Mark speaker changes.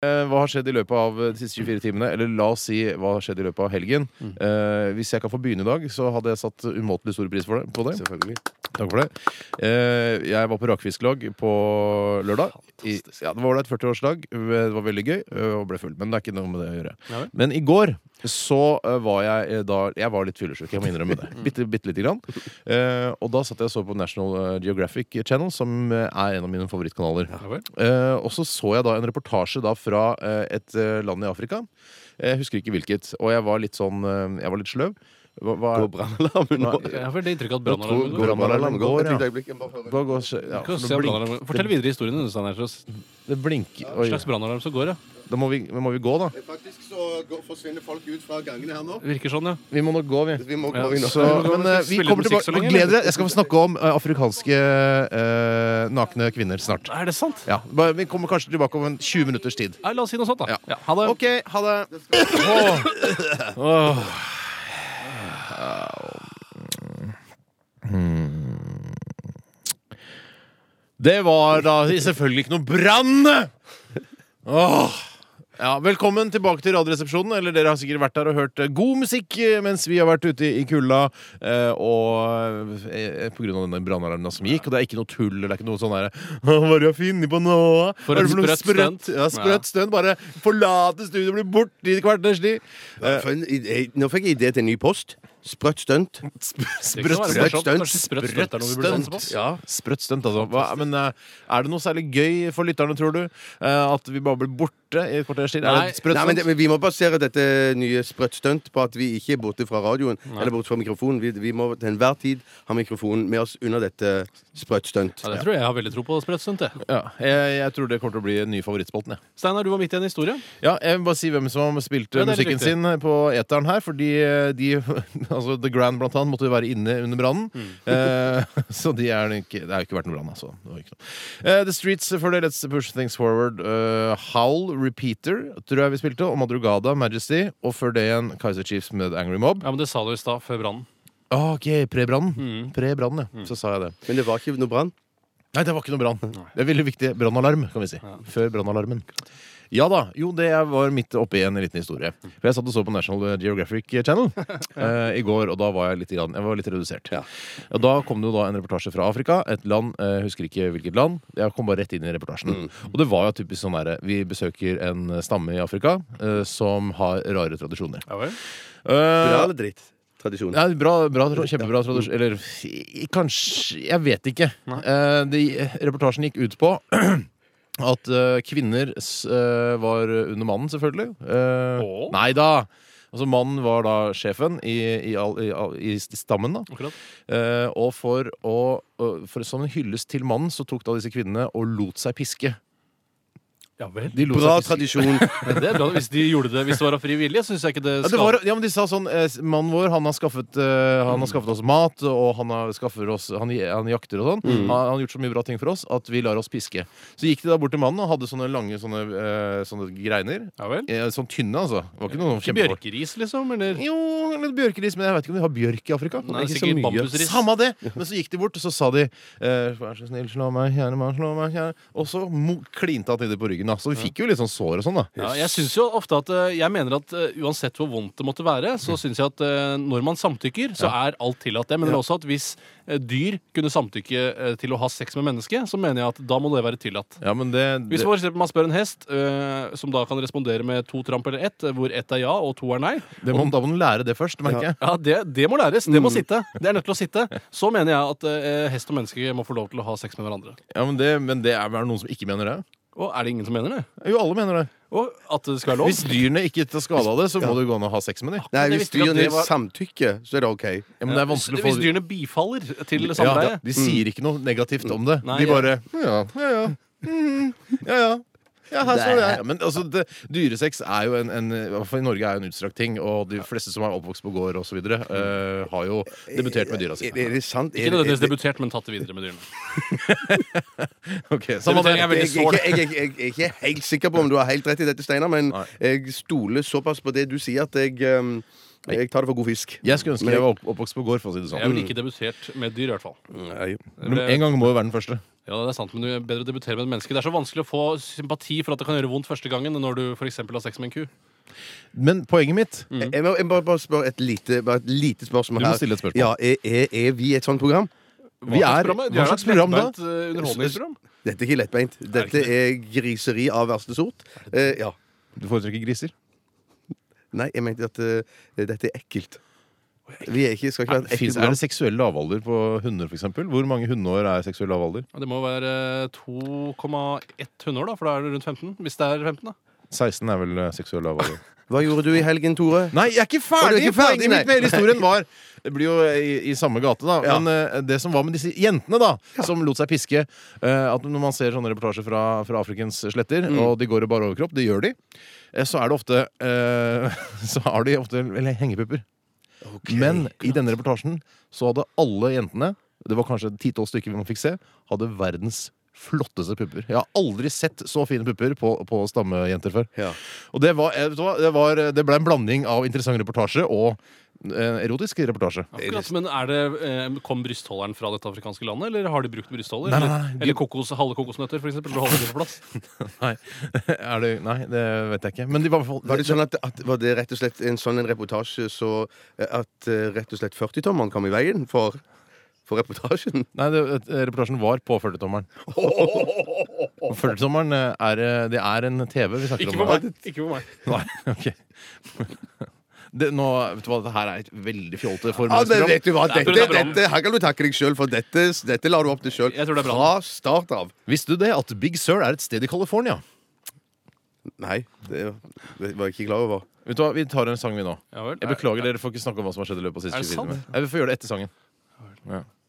Speaker 1: Eh, Hva har skjedd i løpet av eh, de siste 24 timene? Eller la oss si hva har skjedd i løpet av helgen. Eh, hvis jeg kan få begynne i dag, så hadde jeg satt umåtelig stor pris for det, på det.
Speaker 2: Selvfølgelig.
Speaker 1: Takk for det. Eh, jeg var på rakfisklag på lørdag. I, ja, det var ålreit 40-årsdag. Det var veldig gøy eh, og ble full. Men det er ikke noe med det å gjøre.
Speaker 2: Nei vel.
Speaker 1: Men i går så eh, var jeg eh, da Jeg var litt fyllesyk, jeg må innrømme det. Bitte, bitte lite grann. Eh, og da satt jeg og så på National eh, Geographic Channel, som eh, er en av mine favorittkanaler.
Speaker 2: Ja vel.
Speaker 1: Eh, og så så jeg da en reportasje da fra eh, et eh, land i Afrika. Jeg husker ikke hvilket. Og jeg var litt sånn eh, Jeg var litt sløv. Hva, hva
Speaker 2: Går brannalarmen nå?
Speaker 1: Nei,
Speaker 2: Går
Speaker 1: ja.
Speaker 3: Jeg får det inntrykket at
Speaker 1: Jeg tror-
Speaker 3: brannalarmen
Speaker 1: går- brannalarmen går,
Speaker 2: Et
Speaker 1: ja.
Speaker 2: lite øyeblikk, jeg må bare høre.
Speaker 1: hva går, ja,
Speaker 3: Kan
Speaker 1: for
Speaker 3: se
Speaker 1: det blink-
Speaker 3: brannalarmen. Fortell videre historien din. Stein Ersås.
Speaker 1: Det blinker
Speaker 3: Hva
Speaker 1: Oi,
Speaker 3: slags brannalarm som går, ja.
Speaker 1: da må vi, må vi gå, da.
Speaker 2: Faktisk så går, forsvinner folk ut fra gangene her nå.
Speaker 3: Virker sånn, ja.
Speaker 1: Vi må nok gå, vi.
Speaker 2: Vi må gå
Speaker 3: Ja,
Speaker 2: inn og
Speaker 1: Så, men eh, vi
Speaker 3: Spille
Speaker 1: kommer
Speaker 3: musikk
Speaker 1: tilbake.
Speaker 3: så lenge,
Speaker 1: Gled dere. Jeg skal få snakke om eh, afrikanske eh, nakne kvinner snart.
Speaker 3: Er det sant?
Speaker 1: Ja, bare- Vi kommer kanskje tilbake om en 20 minutters tid.
Speaker 3: Ja, la oss si noe sånt, da.
Speaker 1: Ja.
Speaker 3: Ja, ha det.
Speaker 1: OK, ha det.
Speaker 3: Åh.
Speaker 1: Hmm. Det var da selvfølgelig ikke noe brann! Åh. Ja, velkommen tilbake til Radioresepsjonen. Eller Dere har sikkert vært der og hørt eh, god musikk eh, mens vi har vært ute i i kulda. eh, Og eh, eh, på grunn av denne brannalarmen som gikk. Og det er ikke noe tull. eller Det er ikke noe sånn der, «Hva har jeg funnet på nå?
Speaker 3: For
Speaker 1: Hva er
Speaker 3: et
Speaker 1: det noe
Speaker 3: sprøtt stunt.
Speaker 1: Ja,
Speaker 3: Ja.
Speaker 1: sprøtt stunt. Bare forlate studioet, bli borte i kvarters tid. Eh,
Speaker 2: For en idé- Nå fikk jeg idé til en ny post. Sprøtt stunt.
Speaker 3: Det kan være
Speaker 1: Sprøtt
Speaker 3: morsomt.
Speaker 2: stunt.
Speaker 3: Kanskje Sprøtt stunt. er noe vi burde
Speaker 1: Sprøtt
Speaker 3: satse på.
Speaker 1: stunt. Ja, sprøtt stunt, altså. Hva, men eh, er det noe særlig gøy for lytterne, tror du? Eh, At vi bare blir borte i et kvarters tid? Er
Speaker 3: Nei.
Speaker 1: det et sprøtt
Speaker 2: Nei, men, det,
Speaker 1: stunt?
Speaker 2: men Vi må basere dette nye sprøtt stunt på at vi ikke er borte fra radioen. Eller borte fra mikrofonen. Vi, vi må til enhver tid ha mikrofonen med oss under dette sprøtt stunt.
Speaker 3: Ja, det tror jeg jeg har veldig tro på sprøtt stunt. jeg.
Speaker 1: Ja, jeg, jeg tror det kommer til å bli den nye favorittspalten. Jeg.
Speaker 3: Steinar, du var midt i en historie.
Speaker 1: Ja, jeg vil bare si hvem som spilte
Speaker 3: Ja, det er
Speaker 1: musikken
Speaker 3: riktig.
Speaker 1: sin eh, på eteren her. Fordi eh, de, altså The Grand blant annet måtte jo være inne under brannen. Eh, så de er nok- det har jo ikke vært noe brann, altså. Det var ikke noe. Eh, The Streets før det, Let's Push Things Forward. eh, Howl, Repeater, tror jeg vi spilte. Og Madrugada, Majesty. Og før det igjen Kaiser Chiefs med Angry Mob.
Speaker 3: Ja, men Det sa du i stad, før brannen.
Speaker 1: Ah, ok, pre-brannen. Pre-brannen, ja. Så sa jeg det.
Speaker 2: Men det var ikke noe brann.
Speaker 1: Nei, det var ikke noe brann. Det er veldig viktig. Brannalarm, kan vi si. Før brannalarmen. Ja da. Jo, det var midt oppe i en liten historie. For jeg satt og så på National Geographic Channel eh, i går, og da var jeg litt, grann, jeg var litt redusert.
Speaker 2: Ja.
Speaker 1: Og da kom det jo da en reportasje fra Afrika. Et land, eh, jeg husker ikke hvilket land. Jeg kom bare rett inn i reportasjen. Og det var jo typisk sånn derre Vi besøker en stamme i Afrika eh, som har rare tradisjoner.
Speaker 3: Ja, vel.
Speaker 2: Det
Speaker 1: Eh,
Speaker 2: er alle dritt. Tradisjon.
Speaker 1: ja, bra, bra, tra- kjempebra tradisjon. Eller i- kanskje Jeg vet ikke. Eh, de, reportasjen gikk ut på at eh, kvinner s- eh, var under mannen, selvfølgelig. Eh,
Speaker 3: Åh.
Speaker 1: Nei da! Altså Mannen var da sjefen i, i, all, i, all, i stammen. da
Speaker 3: Akkurat.
Speaker 1: Eh, Og for å og for, Som en hyllest til mannen, så tok da disse kvinnene og lot seg piske.
Speaker 3: Ja vel.
Speaker 1: De lot
Speaker 2: Bra
Speaker 1: seg piske.
Speaker 2: tradisjon.
Speaker 3: Men det er bra. Hvis de gjorde det hvis det var av fri vilje, syns jeg ikke det
Speaker 1: Ja, det
Speaker 3: skal
Speaker 1: var, ja, men De sa sånn eh, Mannen vår han har, skaffet, eh, han
Speaker 3: Mm.
Speaker 1: har skaffet oss mat, og han, har skaffer oss, han, han jakter og sånn. Han,
Speaker 3: Mm.
Speaker 1: han har gjort så mye bra ting for oss at vi lar oss piske. Så gikk de da bort til mannen og hadde sånne lange sånne, eh, sånne greiner.
Speaker 3: Ja vel.
Speaker 1: Eh, sånn tynne, altså. Det var ikke noe
Speaker 3: Ikke
Speaker 1: kjempekort.
Speaker 3: bjørkeris, liksom? Eller?
Speaker 1: Jo, litt bjørkeris, men jeg vet ikke om de har bjørk i Afrika.
Speaker 3: Nei,
Speaker 2: ikke så
Speaker 3: sikkert
Speaker 2: mye.
Speaker 3: bambusris.
Speaker 1: Samme det! Men så gikk de bort, og så sa de eh, Vær så snill, slå meg, kjære mann, slå meg, kjære Og så mo- klinte han til det på ryggen, da. Så vi fikk jo litt sånn sår og sånn, da.
Speaker 3: Ja, jeg synes jo ofte at eh, Jeg mener at eh, uansett hvor vondt det måtte være, så syns jeg at eh, når man samtykker, så er alt tillatt. Jeg mener også at hvis eh, dyr kunne samtykke eh, til å ha sex med menneske, så mener jeg at da må det være tillatt.
Speaker 1: Ja, men det,
Speaker 3: Hvis for eksempel man spør en hest, eh, som da kan respondere med to tramp eller ett, eh, hvor ett er ja og to er nei
Speaker 1: det må, Da må du lære det først, merker jeg.
Speaker 3: ja, det, det må læres. Det må sitte. Det er nødt til å sitte. Så mener jeg at eh, hest og menneske må få lov til å ha sex med hverandre.
Speaker 1: Ja, men det, men det er vel noen som ikke mener det?
Speaker 3: Og er det ingen som mener det?
Speaker 1: Jo, alle mener det.
Speaker 3: Og at det skal være lov?
Speaker 1: Hvis dyrene ikke tar skade av det, så må du gå an og ha sex med dem.
Speaker 2: Nei,
Speaker 3: Men jeg
Speaker 2: hvis
Speaker 3: visste ikke at
Speaker 2: dyrene
Speaker 3: det var-
Speaker 2: samtykker, så er det OK.
Speaker 1: Ja, men det er vanskelig å få
Speaker 3: Hvis dyrene bifaller til
Speaker 1: ja,
Speaker 3: samleie?
Speaker 1: De sier ikke noe negativt om det.
Speaker 3: Nei,
Speaker 1: de bare Ja, ja, ja. Mm, ja, ja. Ja, her står jeg. Men altså, det, dyresex er jo en, en i hvert fall i Norge er jo en utstrakt ting. Og de fleste som er oppvokst på gård osv., uh, har jo debutert med dyra
Speaker 2: Er,
Speaker 1: sine.
Speaker 2: er det
Speaker 3: altså. Ikke
Speaker 2: sant? Er det- er
Speaker 3: nødvendigvis
Speaker 2: det-
Speaker 3: debutert, men tatt det videre med dyrene.
Speaker 1: Okay, samme det.
Speaker 3: Debutering er
Speaker 2: Jeg,
Speaker 3: veldig
Speaker 2: jeg,
Speaker 3: sårt.
Speaker 2: jeg, jeg, jeg, jeg er ikke helt sikker på om du har helt rett i dette, Steinar, men
Speaker 1: Nei.
Speaker 2: jeg stoler såpass på det du sier, at jeg, um, jeg tar det for god fisk.
Speaker 1: Jeg skulle ønske jeg var opp- oppvokst på gård, for å si det
Speaker 3: Jeg
Speaker 1: sånn.
Speaker 2: Mm,
Speaker 3: ville ikke debutert med dyr, i hvert fall.
Speaker 2: Nei.
Speaker 1: Men En gang må jo være den første.
Speaker 3: Ja, det er sant, men du er bedre å debutere med et menneske. Det er så vanskelig å få sympati for at det kan gjøre vondt første gangen når du for eksempel har sex med en ku.
Speaker 1: Men poenget mitt
Speaker 2: Jeg må, jeg må bare spørre et lite, bare et lite
Speaker 1: Mm.
Speaker 2: spørsmål
Speaker 1: Du må
Speaker 2: her.
Speaker 1: stille et spørsmål.
Speaker 2: Ja, er, er, er vi et sånt program?
Speaker 3: Hva
Speaker 1: Vi
Speaker 3: slags
Speaker 1: er-
Speaker 3: program er-
Speaker 1: hva
Speaker 3: du er
Speaker 1: slags
Speaker 3: et
Speaker 1: program da?
Speaker 3: lettbeint, eh, Underholdningsprogram.
Speaker 2: Dette er ikke lettbeint.
Speaker 3: ikke
Speaker 2: Dette er griseri av verste sort. Eh, ja.
Speaker 1: Du foretrekker griser?
Speaker 2: Nei, jeg mente at eh, dette er ekkelt. Vi er ikke, skal ikke være et ekkelt
Speaker 1: Finnes, er
Speaker 2: program.
Speaker 1: det seksuell lavalder på hunder, f.eks.? Hvor mange hundeår er seksuell lavalder?
Speaker 3: Ja, Det må være eh, 2,1 hundeår, da, for da er det rundt 15. Hvis det er 15, da.
Speaker 1: 16 er vel eh, seksuell lavalder.
Speaker 2: Hva gjorde du i helgen, Tore?
Speaker 1: Nei, jeg er ikke
Speaker 2: Å, du
Speaker 1: ferdig!
Speaker 2: er ikke ferdig,
Speaker 1: Poenget mitt
Speaker 2: nei.
Speaker 1: med hele historien var Det blir jo i, i samme gate, da.
Speaker 2: Ja.
Speaker 1: Men eh, det som var med disse jentene, da, som lot seg piske eh, At Når man ser sånne reportasjer fra, fra Afrikens sletter,
Speaker 2: Mm.
Speaker 1: og de går i bare overkropp, det gjør de, eh, så er det ofte eh, Så har de ofte eller, hengepupper. Men i denne reportasjen så hadde alle jentene, det var kanskje ti-tolv stykker man fikk se, hadde verdens flotteste pupper. Jeg har aldri sett så fine pupper på, på stammejenter før.
Speaker 2: Ja.
Speaker 1: Og det var, eh, vet du hva? det, var, det ble en blanding av interessant reportasje og eh, erotisk reportasje.
Speaker 3: Akkurat, men er det, eh, Kom brystholderen fra dette afrikanske landet, eller har de brukt brystholder?
Speaker 1: Nei, nei, nei,
Speaker 3: Eller-
Speaker 1: de-
Speaker 3: Eller kokos, halve kokosnøtter, for eksempel? For å holde det på plass.
Speaker 1: Nei, er det, nei, det vet jeg ikke. Men de var i hvert
Speaker 2: Var
Speaker 1: fall
Speaker 2: det, sånn at, at, var det rett og slett en sånn en reportasje så eh, at eh, rett og slett 40-tommeren kom i veien for, for reportasjen?
Speaker 1: Nei, det, eh, reportasjen var på 40-tommeren. Og 40-tommeren eh, er, eh, det er en TV vi snakker
Speaker 3: Ikke
Speaker 1: om.
Speaker 3: på meg. Ikke på meg.
Speaker 1: Nei, ok det, nå, vet du hva, Dette her er et veldig fjollete form.
Speaker 2: Ja, men vet du hva,
Speaker 3: Jeg
Speaker 2: dette,
Speaker 3: tror det er bra.
Speaker 2: dette, Her kan du takke deg sjøl, for dette, dette lar du opp til sjøl
Speaker 3: Jeg tror det er bra.
Speaker 2: fra start av.
Speaker 1: Visste du det at Big Sur er et sted i California?
Speaker 2: Nei, det det var jeg ikke klar over.
Speaker 1: Vet du hva, Vi tar en sang, vi nå.
Speaker 3: Ja vel.
Speaker 1: Jeg Beklager, dere får ikke snakke om hva som har skjedd i løpet av de
Speaker 3: Er
Speaker 1: siste
Speaker 3: det
Speaker 1: 24
Speaker 3: sant?
Speaker 1: timene. Jeg vil få gjøre det etter sangen. Ja.